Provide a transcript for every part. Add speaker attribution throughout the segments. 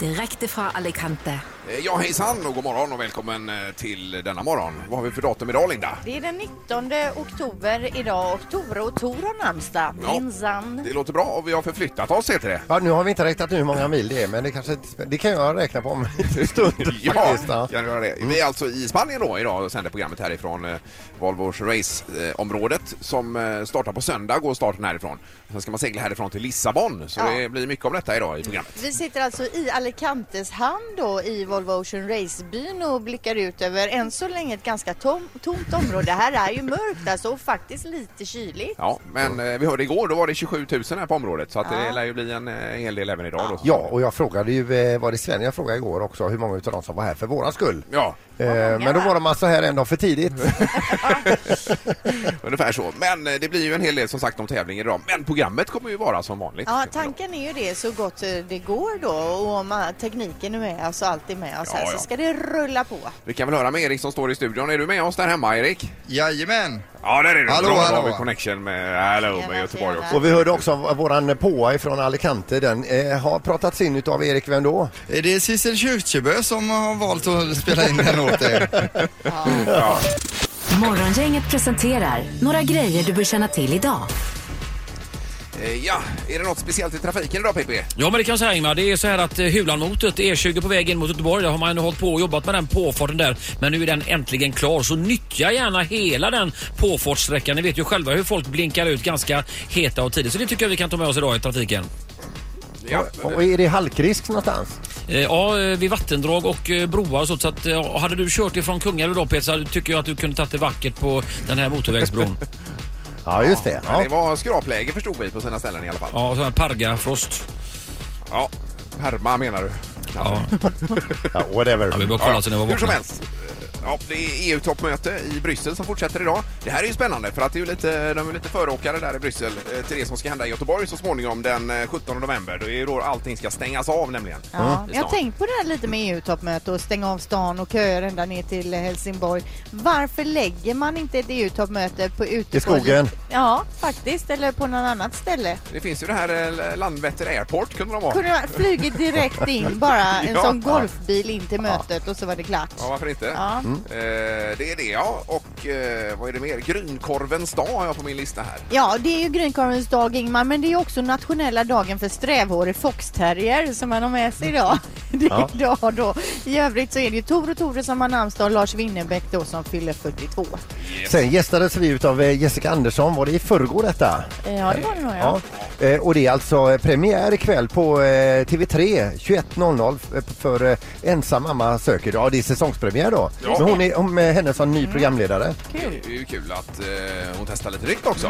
Speaker 1: Direkt ifrån Alicante.
Speaker 2: Eh, Ja, hejsan och god morgon och välkommen eh, till denna morgon. Vad har vi för datum idag, Linda?
Speaker 3: Det är den 19 oktober idag och Tore och Tor har namnsdag.
Speaker 2: Ja.
Speaker 3: Minsann.
Speaker 2: Det låter bra och vi har förflyttat oss, heter det.
Speaker 4: Ja, nu har vi inte räknat hur många mil det är, men det, kanske, det kan jag räkna på om en liten stund.
Speaker 2: Ja,
Speaker 4: faktiskt,
Speaker 2: kan
Speaker 4: ja.
Speaker 2: du göra det. Vi är alltså i Spanien då idag och sänder programmet härifrån eh, Volvos raceområdet som eh, startar på söndag, går starten härifrån. Sen ska man segla härifrån till Lissabon, så
Speaker 3: Ja.
Speaker 2: det blir mycket om detta idag i programmet.
Speaker 3: Vi sitter alltså i Alicantes hamn då i Volvo Ocean Race-byn och blickar ut över än så länge ett ganska tom, tomt område. Här är ju mörkt alltså och faktiskt lite kyligt.
Speaker 2: Ja, men eh, vi hörde igår, då var det 27 000 här på området så att det
Speaker 3: Ja.
Speaker 2: lär ju bli en eh, hel del även idag då.
Speaker 4: Ja, och jag frågade ju, eh, var det Sven jag frågade igår också, hur många utav dem som var här för våran skull.
Speaker 2: Ja,
Speaker 4: Eh, Men då var de alltså här en dag för tidigt.
Speaker 2: ungefär så. Men eh, det blir ju en hel del som sagt om tävlingen idag. Men programmet kommer ju vara som vanligt.
Speaker 3: Ja, tanken är ju det så gott eh, det går då och om eh, tekniken är med oss och allt är med oss
Speaker 2: Ja,
Speaker 3: här
Speaker 2: ja.
Speaker 3: så ska det rulla på.
Speaker 2: Vi kan väl höra med Erik som står i studion. Är du med oss där hemma, Erik?
Speaker 5: Jajamän!
Speaker 2: Ja, där är du.
Speaker 5: Hallå,
Speaker 2: Bra, då har
Speaker 5: hallå.
Speaker 2: vi connection med, hallå, med
Speaker 3: Tjena,
Speaker 2: Göteborg också.
Speaker 3: tjena.
Speaker 4: Och vi hörde också om våran påa ifrån Alicante, den eh, har pratats in utav Erik, vem då?
Speaker 5: Är det Sissel Kyrkjebø som har valt att spela in den åt er?
Speaker 2: Ja.
Speaker 1: Morgongänget presenterar några grejer du bör känna till idag.
Speaker 2: Eh, ja, är det något speciellt i trafiken idag, PP?
Speaker 6: Ja men det kan jag säga Ingmar. Det är så här att eh, Hulanmotet, E20 på vägen mot Göteborg, där har man ju hållit på och jobbat med den påfarten där. Men nu är den äntligen klar så nyttja gärna hela den påfartssträckan. Ni vet ju själva hur folk blinkar ut ganska heta och tidigt. Så det tycker jag vi kan ta med oss idag i trafiken.
Speaker 2: Ja.
Speaker 4: Och är det halkrisk någonstans?
Speaker 6: Eh, Ja, eh, vid vattendrag och eh, broar och sånt. Så att, eh, hade du kört ifrån Kungälv idag Peter så tycker jag att du kunde tagit det vackert på den här motorvägsbron.
Speaker 4: Ja, just det.
Speaker 2: Men
Speaker 4: Ja.
Speaker 2: det var skrapläge förstod vi på sina ställen i alla fall.
Speaker 6: Ja, sån här pargafrost.
Speaker 2: Ja. Perma menar du?
Speaker 6: Ja,
Speaker 4: Ja, whatever.
Speaker 6: ja, vi bör kolla så ni var
Speaker 2: Hur som
Speaker 6: vakna.
Speaker 2: helst. eh, Ja, det är EU-toppmöte i Bryssel som fortsätter idag. Det här är ju spännande för att det är ju lite, de är lite föråkare där i Bryssel eh, till det som ska hända i Göteborg så småningom den eh, 17 november. Det är ju då allting ska stängas av nämligen.
Speaker 3: Ja,
Speaker 6: det är
Speaker 3: jag har
Speaker 6: snart.
Speaker 3: tänkt på det här lite med EU-toppmöte och stänga av stan och köer ända ner till Helsingborg. Varför lägger man inte ett EU-toppmöte på ute
Speaker 4: I skogen?
Speaker 3: Ja, faktiskt. Eller på något annat ställe.
Speaker 2: Det finns ju det här eh, Landvetter Airport kunde de ha.
Speaker 3: Kunde man flugit direkt in, bara en
Speaker 2: Ja.
Speaker 3: sån golfbil in till mötet och så var det glatt.
Speaker 2: Ja, varför inte?
Speaker 3: Ja.
Speaker 2: Eh, det är det, ja. Och eh, vad är det mer? Grynkorvens dag har jag på min lista här.
Speaker 3: Ja, det är ju grynkorvens dag Ingmar, men det är ju också nationella dagen för strävhårig foxterrier som man har med sig idag. Det är
Speaker 4: Ja.
Speaker 3: idag då. I övrigt så är det ju Tor och Tore som har namnsdag och Lars Winnerbäck då som fyller 42.
Speaker 4: Sen gästades vi utav eh, Jessica Andersson, var det i förrgår detta?
Speaker 3: Eh, Ja, det var det nog ja.
Speaker 4: Ja. Eh, Och det är alltså eh, premiär ikväll på eh, TV3 21.00 f- för eh, Ensam mamma söker. Ja, det är säsongspremiär då.
Speaker 2: Ja.
Speaker 4: Men hon är om, med henne som
Speaker 3: Mm.
Speaker 4: ny programledare.
Speaker 2: Det är ju kul att eh, hon testar lite nytt också,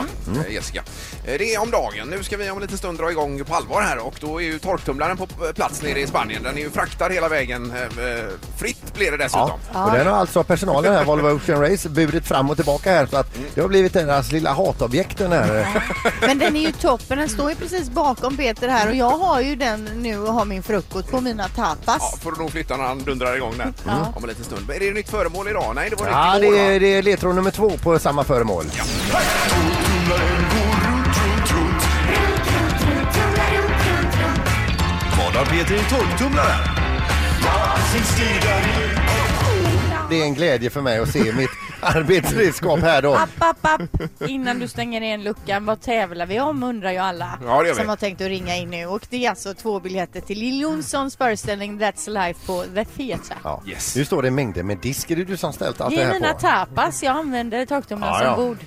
Speaker 2: eh, Jessica. Eh, det är om dagen. Nu ska vi om en liten stund dra igång på allvar här och då är ju torktumlaren på p- plats nere i Spanien. Den är ju fraktad hela vägen. eh, Eh, fritt blir det dessutom.
Speaker 4: Och den har alltså personalen här, Volvo Ocean Race, burit fram och tillbaka här så att
Speaker 2: Mm.
Speaker 4: det har blivit deras lilla hatobjekt den här.
Speaker 3: Men den är ju toppen, den står ju precis bakom Peter här och jag har ju den nu och har min frukost på mina
Speaker 2: Ja,
Speaker 3: tapas.
Speaker 2: får du nog flytta när han dundrar igång den om en liten stund. Men Är det nytt föremål idag? Nej, det var
Speaker 4: Ja,
Speaker 2: nytt
Speaker 4: det
Speaker 2: igår
Speaker 4: är,
Speaker 2: va?
Speaker 4: det är ledtråd nummer två på samma föremål.
Speaker 7: Vad har Peter i torktumlaren?
Speaker 4: Det är en glädje för mig att se mitt arbetsredskap här då.
Speaker 3: App, app, app. Innan du stänger igen luckan, vad tävlar vi om undrar ju alla
Speaker 2: Ja, det gör vi.
Speaker 3: som har tänkt att ringa in nu. Och det är alltså två biljetter till Lill Jonssons föreställning That's Life på The Theatre.
Speaker 4: Ja.
Speaker 2: Yes.
Speaker 4: Nu står det mängder med disk. Är det du som ställt allt
Speaker 3: Det
Speaker 4: det
Speaker 3: är
Speaker 4: här
Speaker 3: mina
Speaker 4: på?
Speaker 3: tapas, jag använder torktumlaren
Speaker 4: Ja, ja.
Speaker 3: som bord.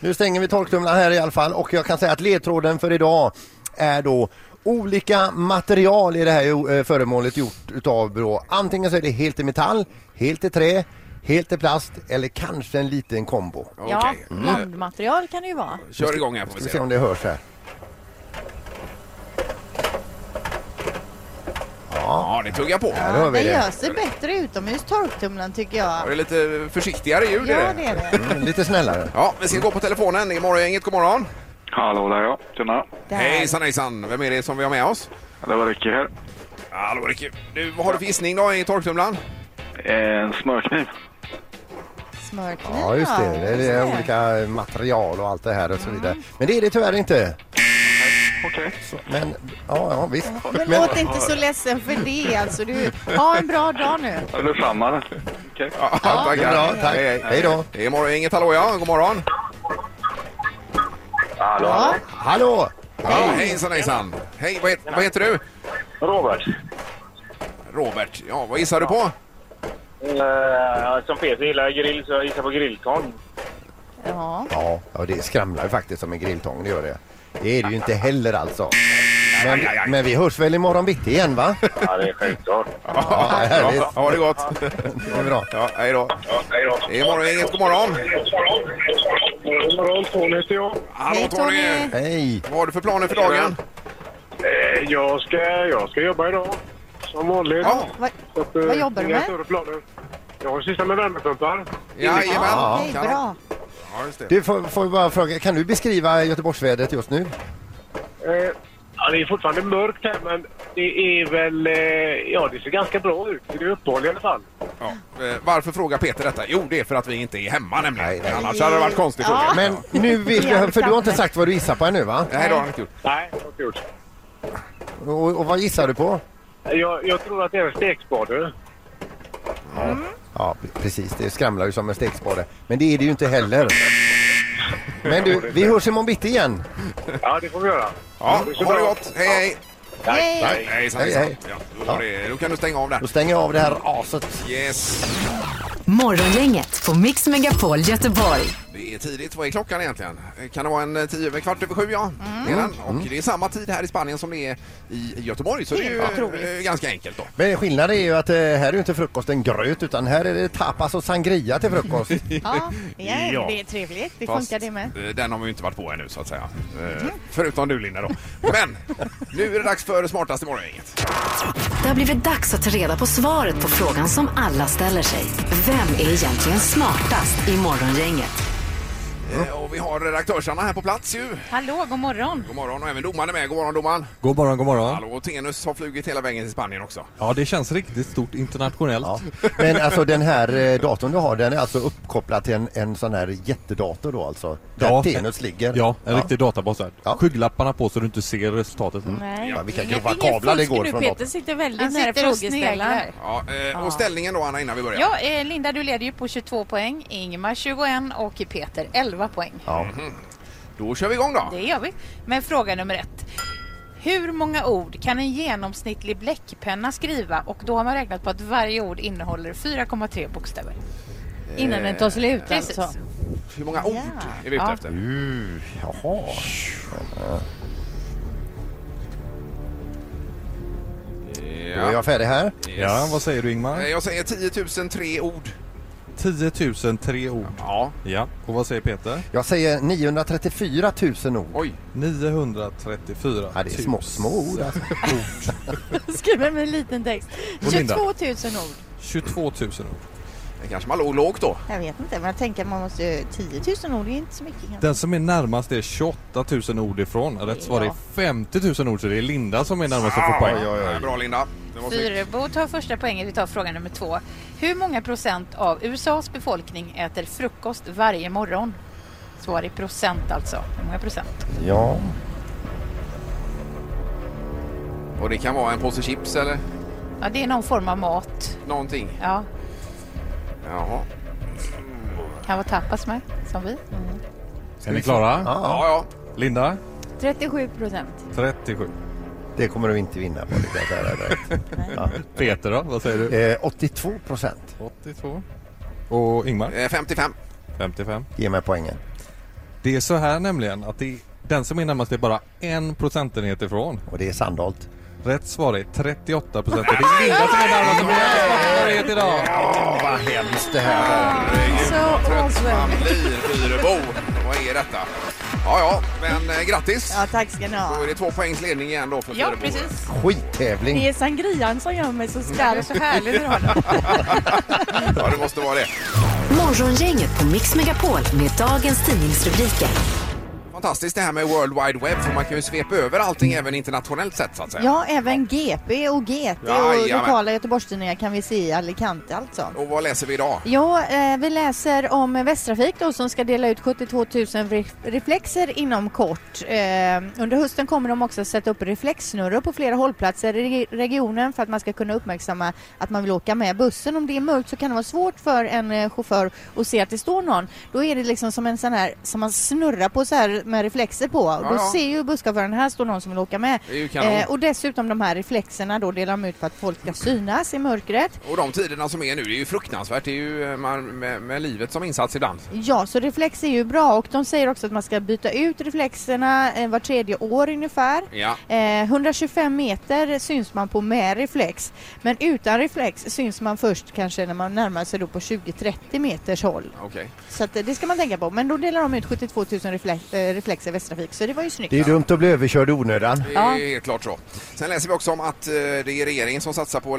Speaker 4: Nu stänger vi torktumlaren här i alla fall och jag kan säga att ledtråden för idag är då olika material i det här eh, föremålet gjort utav då antingen så är det helt i metall, helt i trä, helt i plast eller kanske en liten kombo.
Speaker 3: Ja,
Speaker 2: Okej.
Speaker 4: Mm.
Speaker 3: blandmaterial kan det ju vara.
Speaker 2: Kör igång här får
Speaker 4: Ska
Speaker 2: vi
Speaker 4: vi
Speaker 2: se.
Speaker 4: se om det hörs här.
Speaker 2: Ja, det tuggar på.
Speaker 4: då
Speaker 3: Ja,
Speaker 4: har vi
Speaker 3: det
Speaker 4: det.
Speaker 3: gör sig bättre utomhus, torktumlaren tycker
Speaker 2: Ja,
Speaker 3: jag.
Speaker 2: Det är lite försiktigare ljud. är
Speaker 3: Ja,
Speaker 2: det.
Speaker 3: det är det.
Speaker 4: Mm, Lite snällare.
Speaker 2: Ja, vi ska gå på telefonen. Det är Morgongänget. God morgon.
Speaker 8: Hallå där ja, tjena.
Speaker 3: Där.
Speaker 2: Hejsan, hejsan. Vem är det som vi har med oss?
Speaker 8: Det var Ricky här.
Speaker 2: Hallå, Ricky. Du, vad har du för gissning då i torktumlaren?
Speaker 9: Eh,
Speaker 8: En smörkniv.
Speaker 3: Smörkniv,
Speaker 4: Ja just det, det
Speaker 3: just Mm.
Speaker 4: är olika material och allt det här och så vidare. Men det är det tyvärr inte.
Speaker 8: okej.
Speaker 4: Men ja, ja visst.
Speaker 3: Men låt inte så ledsen för det alltså. Du, ha en bra dag nu.
Speaker 8: Ja, Detsamma. Okej.
Speaker 2: Ja, tackar.
Speaker 4: det är bra, tack.
Speaker 2: Hej, hej.
Speaker 4: Hej då.
Speaker 2: Det är morgon, inget hallå ja. God morgon.
Speaker 3: Ja.
Speaker 4: Hallå!
Speaker 2: Ja, hejsan hejsan. Hej, vad, het, vad heter du?
Speaker 9: Robert,
Speaker 2: Robert. Ja, vad gissar du på?
Speaker 9: eh, som Peter gillar grill så jag gissar på grilltång.
Speaker 3: Ja.
Speaker 4: Ja, ja, det skramlar ju faktiskt som en grilltång, det gör det. Det är det ju inte heller alltså. Men, men vi hörs väl imorgon bitti igen va?
Speaker 9: Ja, det är självklart.
Speaker 4: Ja, härligt.
Speaker 2: Ja, ha det gott.
Speaker 4: Det är bra.
Speaker 2: Ja, hej då. Det är morgon, inget god morgon.
Speaker 9: God morgon, Tony heter jag.
Speaker 2: Hallå
Speaker 3: Hej,
Speaker 2: Tony.
Speaker 3: Tony.
Speaker 4: Hej!
Speaker 2: Vad har du för planer för dagen?
Speaker 9: Eh, jag, ska, jag ska jobba idag, som vanligt.
Speaker 2: Ja,
Speaker 3: Vad,
Speaker 9: Så att, eh,
Speaker 3: vad jobbar du
Speaker 9: inga
Speaker 3: med?
Speaker 9: större planer. Jag sysslar med värmepumpar.
Speaker 2: jajamän.
Speaker 3: ja, okej, bra.
Speaker 2: Ja, just det.
Speaker 4: Du får, får jag bara fråga, kan du beskriva Göteborgsvädret just nu?
Speaker 9: Eh, ja, det är fortfarande mörkt här, men det är väl... Eh, ja, det ser ganska bra ut. Det är uppehåll i alla fall.
Speaker 2: Ja. eh, Varför frågar Peter detta? Jo, det är för att vi inte är hemma nämligen.
Speaker 4: Nej, nej.
Speaker 2: Annars hade det varit konstigt.
Speaker 3: Ja.
Speaker 2: fråga.
Speaker 4: Men nu vill jag, för du har inte sagt vad du gissar på ännu va?
Speaker 2: Nej, det har han inte gjort.
Speaker 9: Nej, det har jag inte gjort.
Speaker 4: Och, och vad gissar du på?
Speaker 9: Jag, jag tror att det är en stekspade.
Speaker 4: Ja, precis. Det skramlar ju som en stekspade. Men det är det ju inte heller. Men du, vi hörs imorgon bitti igen.
Speaker 9: Ja, det får vi göra.
Speaker 2: Ja,
Speaker 9: Det är så
Speaker 2: ha det
Speaker 9: bra.
Speaker 2: gott. Hej, hej.
Speaker 3: Hej.
Speaker 2: Hejsan, hejsan.
Speaker 4: Hej, hej.
Speaker 2: Ja, då, var det, då kan du stänga av
Speaker 4: Då
Speaker 2: där.
Speaker 4: stänger jag av det här aset.
Speaker 2: Yes.
Speaker 1: Morgongänget på Mix Megapol Göteborg.
Speaker 2: Det är tidigt. Vad är klockan egentligen? Kan det vara en eh, tio över kvart över sju? Ja. Det är den. Och det är samma tid här i Spanien som det är i i Göteborg. Så det är ju
Speaker 3: Helt otroligt.
Speaker 2: eh, ganska enkelt då.
Speaker 4: Men skillnaden är ju att eh, här är ju inte frukosten gröt utan här är det tapas och sangria till frukost.
Speaker 3: Ja,
Speaker 2: Ja.
Speaker 3: ja, det är trevligt. Det
Speaker 2: Fast,
Speaker 3: funkar det med.
Speaker 2: eh, Den har vi ju inte varit på ännu så att säga. Eh, Förutom du Linda då. Men nu är det dags för smartast i morgongänget.
Speaker 1: Det har blivit dags att ta reda på svaret på frågan som alla ställer sig. Vem är egentligen smartast i morgongänget?
Speaker 10: Mm.
Speaker 2: Eh, Och vi har redaktörsarna här på plats ju.
Speaker 11: Hallå, god morgon.
Speaker 2: God morgon och även domaren är med. God morgon domaren.
Speaker 10: God morgon, god morgon.
Speaker 2: Hallå, och Tenus har flugit hela vägen till Spanien också.
Speaker 10: Ja, det känns riktigt stort internationellt.
Speaker 4: Ja. Men alltså den här eh, datorn du har den är alltså uppkopplad till en, en sån här jättedator då alltså? Där
Speaker 10: Ja.
Speaker 4: Tenus ligger?
Speaker 10: Ja, en riktig databas där.
Speaker 4: Ja.
Speaker 10: Skygglapparna på så du inte ser resultatet.
Speaker 11: Nej.
Speaker 4: Ja, vilka
Speaker 11: Inget-
Speaker 4: grova
Speaker 11: inget
Speaker 4: kablar det
Speaker 11: fusk
Speaker 4: går
Speaker 11: nu,
Speaker 4: från
Speaker 11: Peter
Speaker 4: datorn.
Speaker 11: sitter väldigt
Speaker 3: Han
Speaker 11: nära
Speaker 3: sitter och
Speaker 11: frågeställaren.
Speaker 3: sneglar.
Speaker 2: Ja, eh, och ställningen då Anna innan vi börjar.
Speaker 11: Ja, eh, Linda du leder ju på 22 poäng, Ingemar 21 och Peter 11 poäng.
Speaker 4: Ja.
Speaker 2: Då kör vi igång då.
Speaker 11: Det gör vi. Men fråga nummer ett. Hur många ord kan en genomsnittlig bläckpenna skriva? Och då har man räknat på att varje ord innehåller 4,3 bokstäver.
Speaker 2: Innan den tar
Speaker 11: slut Precis.
Speaker 3: alltså.
Speaker 2: Hur många ord är vi ute
Speaker 11: Ja.
Speaker 2: efter?
Speaker 4: Uh, jaha. Då är
Speaker 2: Ja.
Speaker 4: jag färdig här.
Speaker 10: Ja, vad säger du
Speaker 2: Eh,
Speaker 10: Ingmar?
Speaker 2: Jag säger 10 003 ord.
Speaker 10: 10 000 tre ord.
Speaker 2: Ja.
Speaker 10: Ja, och vad säger Peter?
Speaker 4: Jag säger 934 000 ord.
Speaker 2: Oj.
Speaker 10: 934
Speaker 4: Ja, det är små, små ord alltså.
Speaker 3: Skriver med en liten text.
Speaker 10: Och
Speaker 3: 22
Speaker 10: Linda?
Speaker 3: 000 ord.
Speaker 10: 22 000 ord.
Speaker 2: Det kanske man låg lågt då.
Speaker 3: Jag vet inte, men jag tänker att man måste... 10 000 ord är inte så mycket. kanske.
Speaker 10: Den som är närmast är 28 000 ord ifrån. Rätt svar är
Speaker 3: Ja.
Speaker 10: 50 000 ord, så det är Linda som är närmast att få poäng.
Speaker 2: Eh, Bra Linda. Det var snyggt.
Speaker 11: Fyrebo tar första poängen. Vi tar fråga nummer två. Hur många procent av USAs befolkning äter frukost varje morgon? Svar i procent alltså. Hur många procent?
Speaker 4: Ja.
Speaker 2: Och det kan vara en påse chips eller
Speaker 11: Ja, det är någon form av mat.
Speaker 2: någonting.
Speaker 11: Ja,
Speaker 2: Jaha.
Speaker 11: kan vara tapas med, som vi.
Speaker 10: Är ni klara?
Speaker 4: Ja,
Speaker 2: Ja,
Speaker 10: Linda?
Speaker 3: 37 procent.
Speaker 10: 37.
Speaker 4: det kommer du inte vinna på. Det där, där, där.
Speaker 10: Peter då, vad säger du?
Speaker 4: Eh, 82 procent.
Speaker 10: 82. Och Ingmar?
Speaker 2: eh, 55.
Speaker 10: 55.
Speaker 4: Ge mig poängen.
Speaker 10: Det är så här nämligen att det, den som är närmast är bara en procentenhet ifrån.
Speaker 4: Och det är Sandholt.
Speaker 10: Rätt svar är 38 procent. Det är Linda som är närmast med procentenhet idag.
Speaker 4: Åh, vad hemskt det här var.
Speaker 3: Så
Speaker 2: Man
Speaker 3: awesome.
Speaker 2: blir Fyrebo. Vad är detta? Ja, ja, men eh, grattis.
Speaker 3: Ja, tack ska ni
Speaker 2: Då
Speaker 3: ha.
Speaker 2: är det två poängs ledning igen då för
Speaker 11: Ja,
Speaker 2: Fyrebo.
Speaker 11: precis.
Speaker 4: Skittävling.
Speaker 3: Det är sangrian som gör mig så
Speaker 11: Det är
Speaker 3: skarp.
Speaker 11: så härligt idag. då.
Speaker 2: Ja, det måste vara det.
Speaker 1: Morgongänget på Mix Megapol med dagens tidningsrubriker.
Speaker 2: fantastiskt det här med World Wide Web för man kan ju svepa över allting även internationellt sett så att säga.
Speaker 3: Ja, även GP och GT och
Speaker 2: Jajamän.
Speaker 3: lokala Göteborgstidningar kan vi se i Alicante alltså.
Speaker 2: Och vad läser vi idag?
Speaker 3: Ja, eh, vi läser om Västtrafik då som ska dela ut 72 000 ref- reflexer inom kort. Eh, under hösten kommer de också sätta upp reflexsnurror på flera hållplatser i reg- regionen för att man ska kunna uppmärksamma att man vill åka med bussen. Om det är mörkt så kan det vara svårt för en eh, chaufför att se att det står någon. Då är det liksom som en sån här som man snurrar på så här med reflexer på. Och då
Speaker 12: Ja, ja.
Speaker 3: ser ju busschauffören här står någon som vill åka med. Eh,
Speaker 2: Det är ju kanon.
Speaker 3: och dessutom de här reflexerna då delar de ut för att folk ska synas i mörkret.
Speaker 2: Och de tiderna som är nu, det är ju fruktansvärt. Det är ju eh, man, med, med livet som insats ibland.
Speaker 3: Ja, så reflex är ju bra och de säger också att man ska byta ut reflexerna eh, var tredje år ungefär.
Speaker 2: Ja.
Speaker 3: Eh, 125 meter syns man på med reflex, men utan reflex syns man först kanske när man närmar sig då på 20-30 meters håll.
Speaker 2: Okej.
Speaker 3: Så att, eh, det ska man tänka på. Men då delar de ut 72 000 reflex, eh, reflexer i Västtrafik, så det var ju snyggt.
Speaker 4: Det är dumt att bli överkörd i onödan.
Speaker 2: Det är helt klart så. Sen läser vi också om att eh, det är regeringen som satsar på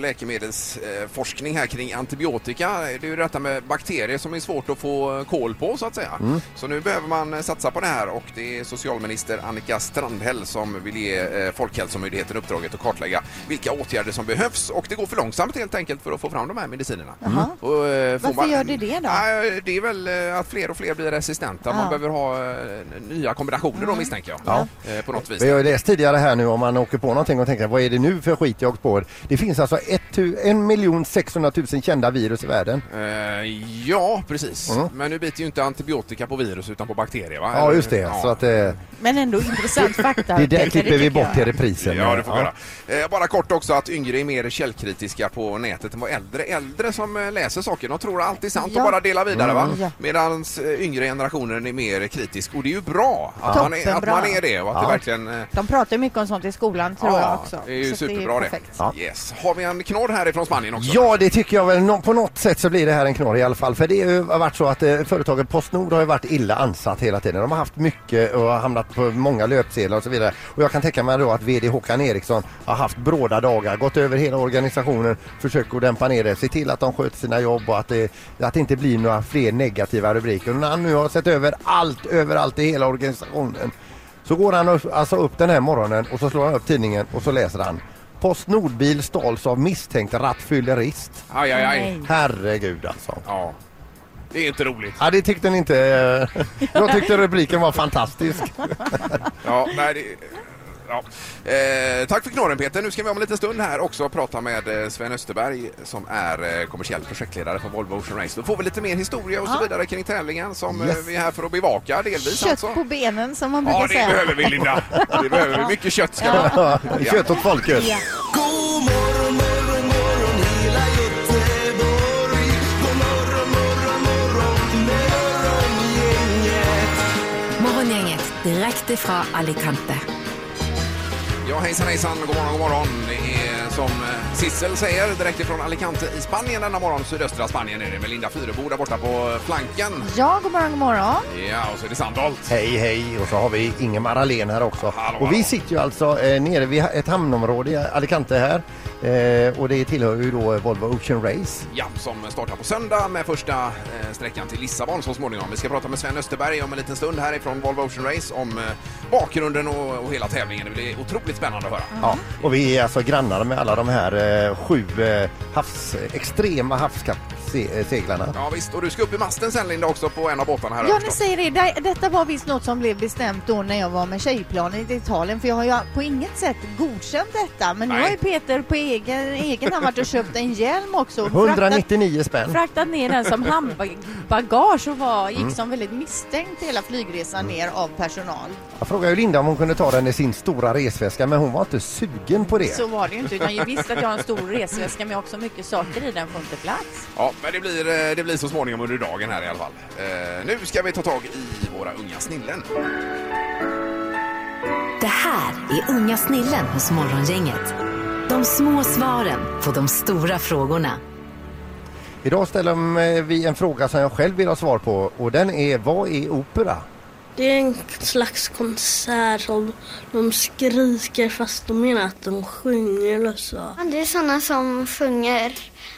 Speaker 2: läkemedelsforskning här kring antibiotika. Det är ju detta med bakterier som är svårt att få koll på så att säga.
Speaker 4: Mm.
Speaker 2: Så nu behöver man eh, satsa på det här och det är socialminister Annika Strandhäll som vill ge eh, Folkhälsomyndigheten uppdraget att kartlägga vilka åtgärder som behövs och det går för långsamt helt enkelt för att få fram de här medicinerna.
Speaker 3: Jaha.
Speaker 2: Och, eh, får
Speaker 3: Varför
Speaker 2: man-
Speaker 3: gör det det då?
Speaker 2: Nej, Det är väl eh, att fler och fler blir resistenta. Man
Speaker 3: Ja. Mm.
Speaker 2: behöver ha eh, nya kombinationer då misstänker jag. Eh, På något vis.
Speaker 4: Vi har ju läst tidigare här nu om man åker på någonting och tänker vad är det nu för skit jag åkt på? Det finns alltså 1 600 000 kända virus i världen.
Speaker 2: Eh, ja, precis.
Speaker 4: Mm.
Speaker 2: Men nu biter ju inte antibiotika på virus utan på bakterier va?
Speaker 4: Ja just det.
Speaker 2: Ja.
Speaker 4: Så att, eh,
Speaker 3: Men ändå intressant fakta.
Speaker 4: det där
Speaker 3: Peter,
Speaker 4: klipper vi
Speaker 3: tycker
Speaker 4: bort
Speaker 3: jag.
Speaker 4: till reprisen.
Speaker 2: Ja, det får vi göra. Eh, bara kort också att yngre är mer källkritiska på nätet än vad äldre. Äldre som eh, läser saker, de tror allt är sant
Speaker 4: Ja.
Speaker 2: och bara delar vidare va?
Speaker 4: Mm. Ja.
Speaker 2: Medan yngre generationen är mer kritisk och det är ju bra att,
Speaker 3: Ja.
Speaker 2: man, är, att
Speaker 3: Toppenbra.
Speaker 2: man är det och att
Speaker 4: Ja.
Speaker 2: det verkligen eh,
Speaker 3: De pratar ju mycket om sånt i skolan tror jag också.
Speaker 2: det är ju
Speaker 3: Så att
Speaker 2: superbra det.
Speaker 3: perfekt.
Speaker 2: Yes. Har vi en knorr härifrån Spanien också?
Speaker 4: Ja, det tycker jag väl. Nå- På något sätt så blir det här en knorr i alla fall. För det har ju varit så att eh, företaget Postnord har ju varit illa ansatt hela tiden. De har haft mycket och har hamnat på många löpsedlar och så vidare. Och jag kan tänka mig då att VD Håkan Eriksson har haft bråda dagar, gått över hela organisationen, försökt att dämpa ner det, se till att de sköter sina jobb och att det, att det inte blir några fler negativa rubriker. Och när han nu har sett över allt, överallt i hela organisationen så går han upp, alltså upp den här morgonen och så slår han upp tidningen och så läser han Postnordbil stals av misstänkt rattfyllerist.
Speaker 2: Aj, aj, aj.
Speaker 4: Herregud alltså.
Speaker 2: Ja. Det är inte roligt.
Speaker 4: Ja, det tyckte ni inte. eh, Jag tyckte rubriken var fantastisk.
Speaker 2: Ja, nej, det... Ja. Eh, tack för knorren Peter. Nu ska vi om en liten stund här också prata med eh, Sven Österberg som är eh, kommersiell projektledare på Volvo Ocean Race. Då får vi lite mer historia och så
Speaker 3: Ja.
Speaker 2: vidare kring tävlingen som eh,
Speaker 4: Yes.
Speaker 2: vi är här för att bevaka delvis
Speaker 3: Kött
Speaker 2: alltså.
Speaker 3: på benen som man brukar
Speaker 2: Ja, det
Speaker 3: säga.
Speaker 2: behöver vi Linda. Det behöver vi. Mycket kött ska vi ha. Ja.
Speaker 4: Kött åt folket.
Speaker 1: Morgongänget direkt ifrån Alicante.
Speaker 2: Ja, hejsan hejsan, god morgon, god morgon. Det är som eh, Sissel säger direkt ifrån Alicante i Spanien denna morgon, sydöstra Spanien är det med Linda Fyrebo där borta på flanken.
Speaker 3: Ja, god morgon, god morgon.
Speaker 2: Ja, och så är det Sandholt.
Speaker 4: Hej, hej! Och så har vi Ingemar Ahlén här också. Och vi sitter ju alltså eh, nere vid ha- ett hamnområde i Alicante här. Eh, och det tillhör ju då eh, Volvo Ocean Race.
Speaker 2: Ja, som startar på söndag med första eh, sträckan till Lissabon så småningom. Vi ska prata med Sven Österberg om en liten stund härifrån Volvo Ocean Race om eh, bakgrunden och, och hela tävlingen. Det blir otroligt spännande att höra.
Speaker 4: Ja, och vi är alltså grannar med alla de här eh, sju eh, havs, extrema havskappseglarna.
Speaker 2: Ja, visst, och du ska upp i masten sen Linda också på en av båtarna här.
Speaker 3: Ja, ni
Speaker 2: förstås.
Speaker 3: säger det. Det- Detta var visst något som blev bestämt då när jag var med tjejplanet i Italien för jag har ju på inget sätt godkänt detta. Men nu
Speaker 4: Nej.
Speaker 3: har ju Peter på egen, egen hand varit och köpt en hjälm också. och fraktat-
Speaker 4: 199 spänn.
Speaker 3: fraktat ner den som handbagage och var, gick
Speaker 4: Mm.
Speaker 3: som väldigt misstänkt hela flygresan
Speaker 2: Mm.
Speaker 3: ner av personal.
Speaker 4: Jag frågade ju Linda om hon kunde ta den i sin stora resväska men hon var inte sugen på det.
Speaker 3: Så var det ju inte utan jag visste att jag har en stor resväska men jag har också mycket saker i den får inte plats.
Speaker 2: Ja, men det blir, eh, det blir så småningom under dagen här i alla fall. Eh, nu ska vi ta tag i våra unga snillen.
Speaker 1: Det här är Unga snillen hos Morgongänget. De små svaren på de stora frågorna.
Speaker 4: Idag ställer eh, vi en fråga som jag själv vill ha svar på och den är vad är opera?
Speaker 13: Det är en slags konsert som de skriker fast de menar att de sjunger och så.
Speaker 14: Det är sådana som sjunger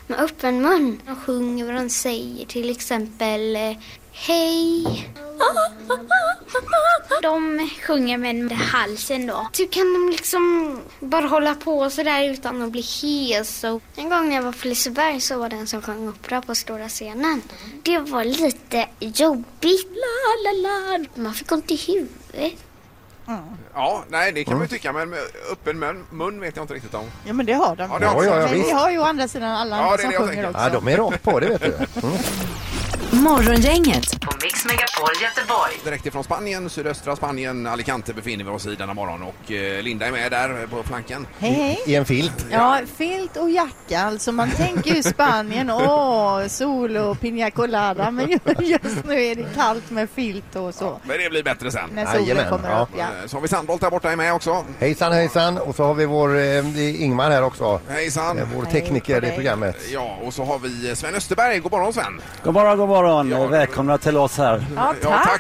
Speaker 14: med öppen mun. De sjunger vad de säger, till exempel eh, Hej! De sjunger med halsen då. Så kan de liksom bara hålla på sådär utan att bli hes. Och en gång när jag var på Liseberg så var det en som sjöng opera på stora scenen. Det var lite jobbigt. La, la, la. Man fick ont i huvudet.
Speaker 2: Ja, nej det kan man ju tycka men med öppen mun, mun vet jag inte riktigt om.
Speaker 3: Ja men det har de.
Speaker 2: Ja, det har de. Ja, ja, ja,
Speaker 3: men vi
Speaker 2: visst.
Speaker 3: har ju å andra sidan alla andra
Speaker 2: Ja, det är
Speaker 3: som
Speaker 2: det jag
Speaker 3: sjunger
Speaker 2: tänker.
Speaker 3: också.
Speaker 4: Ja, de är rakt på det vet du. Mm.
Speaker 1: Morgongänget på Mix Megapol Göteborg.
Speaker 2: Direkt ifrån Spanien, sydöstra Spanien, Alicante befinner vi oss i denna morgon och eh, Linda är med där på flanken.
Speaker 3: Hej, hej.
Speaker 4: I en filt.
Speaker 3: Ja, filt och jacka. Alltså man tänker ju Spanien, åh, sol och piña colada. Men ju- just nu är det kallt med filt och så.
Speaker 2: Men det blir bättre sen.
Speaker 3: När solen
Speaker 4: Jajamän,
Speaker 3: kommer
Speaker 4: ja.
Speaker 3: upp, ja.
Speaker 2: Eh, Så har vi Sandholt där borta är med också.
Speaker 4: Hejsan hejsan och så har vi vår eh, Ingmar här också.
Speaker 2: Hejsan.
Speaker 4: Eh, Vår tekniker i programmet.
Speaker 2: Ja, och så har vi eh, Sven Österberg. God morgon Sven!
Speaker 12: God morgon, god morgon. Välkomna till oss här.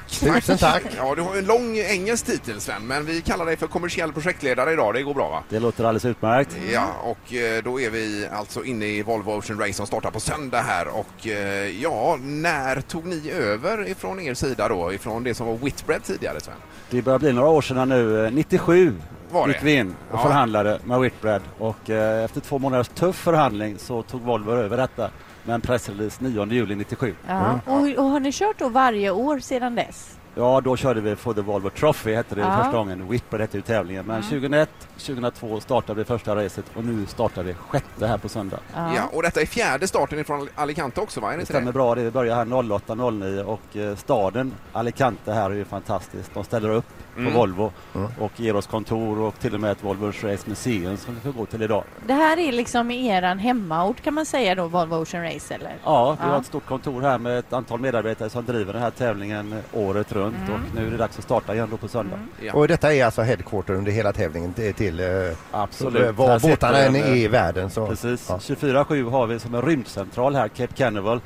Speaker 4: Tusen tack.
Speaker 2: Ja, du har ju en lång engelsk titel Sven, men vi kallar dig för kommersiell projektledare idag. Det går bra va?
Speaker 12: Det låter alldeles utmärkt.
Speaker 2: Ja, och eh, då är vi alltså inne i Volvo Ocean Race som startar på söndag här och eh, ja, när tog ni över ifrån er sida då, ifrån det som var Whitbread tidigare Sven?
Speaker 12: Det börjar bli några år sedan nu. Eh, 97
Speaker 2: Var det?
Speaker 12: gick vi in och
Speaker 2: Ja.
Speaker 12: förhandlade med Whitbread och eh, efter två månaders tuff förhandling så tog Volvo över detta med en pressrelease 9 juli 97.
Speaker 3: ja. Och, och har ni kört då varje år sedan dess?
Speaker 12: Ja, då körde vi for the Volvo Trophy hette det
Speaker 3: Ja.
Speaker 12: första gången. Whitbread hette ju tävlingen. Men
Speaker 3: Mm.
Speaker 12: 2001, 2002 startade vi första racet och nu startar vi sjätte här på söndag.
Speaker 2: Ja. och detta är fjärde starten ifrån Alicante också va? Är det
Speaker 12: Det
Speaker 2: inte det?
Speaker 12: stämmer bra det. Vi börjar här 08.09 och eh, staden Alicante här är ju fantastisk. De ställer upp
Speaker 2: Mm.
Speaker 12: på Volvo och ger oss kontor och till och med ett Volvo Race Museum som vi får gå till idag.
Speaker 3: Det här är liksom eran hemmaort kan man säga då, Volvo Ocean Race eller?
Speaker 12: Ja, vi
Speaker 3: Ja.
Speaker 12: har ett stort kontor här med ett antal medarbetare som driver den här tävlingen året runt
Speaker 3: Mm.
Speaker 12: och nu är det dags att starta igen då på söndag.
Speaker 4: Och detta är alltså headquarter under hela tävlingen till, till eh,
Speaker 12: Absolut. Här
Speaker 4: var
Speaker 12: sitter
Speaker 4: båtarna än
Speaker 12: den,
Speaker 4: är i
Speaker 12: eh,
Speaker 4: världen. Så.
Speaker 12: Precis. 24-7 har vi som en rymdcentral här, Cape Canaveral.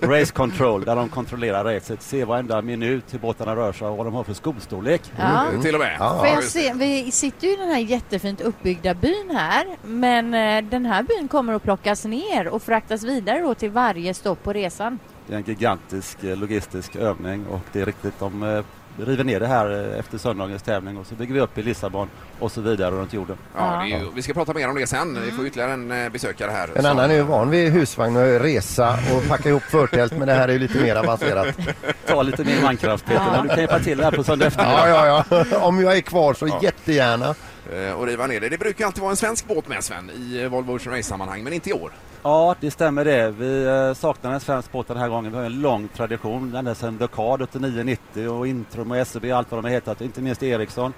Speaker 12: Race Control, där de kontrollerar racet. Se varenda minut hur båtarna rör sig och vad de har för skostorlek.
Speaker 3: Ja. Mm,
Speaker 2: till och med.
Speaker 3: Får jag se, vi sitter ju i den här jättefint uppbyggda byn här, men eh, den här byn kommer att plockas ner och fraktas vidare då till varje stopp på resan.
Speaker 12: Det är en gigantisk eh, logistisk övning och det är riktigt, de eh, river ner det här eh, efter söndagens tävling och så bygger vi upp i Lissabon och så vidare runt jorden.
Speaker 2: Ja, det är ju, vi ska prata mer om det sen. Vi
Speaker 12: Mm.
Speaker 2: får ytterligare en eh, besökare här.
Speaker 4: En
Speaker 2: Så-
Speaker 4: annan är ju van vid husvagn och resa och packa ihop förtält men det här är ju lite mer avancerat.
Speaker 12: Ta lite mer mankraft Peter, men du kan hjälpa till här på söndag eftermiddag.
Speaker 4: Ja, ja, ja. Om jag är kvar så jättegärna.
Speaker 2: Eh, och riva ner det. Det brukar alltid vara en svensk båt med Sven i eh, Volvo Ocean Race-sammanhang, men inte i år.
Speaker 12: Ja, det stämmer det. Vi eh, saknar en svensk båt den här gången. Vi har en lång tradition, ända sedan The Card 89-90 och Intrum och SEB allt vad de har hetat, inte minst Ericsson.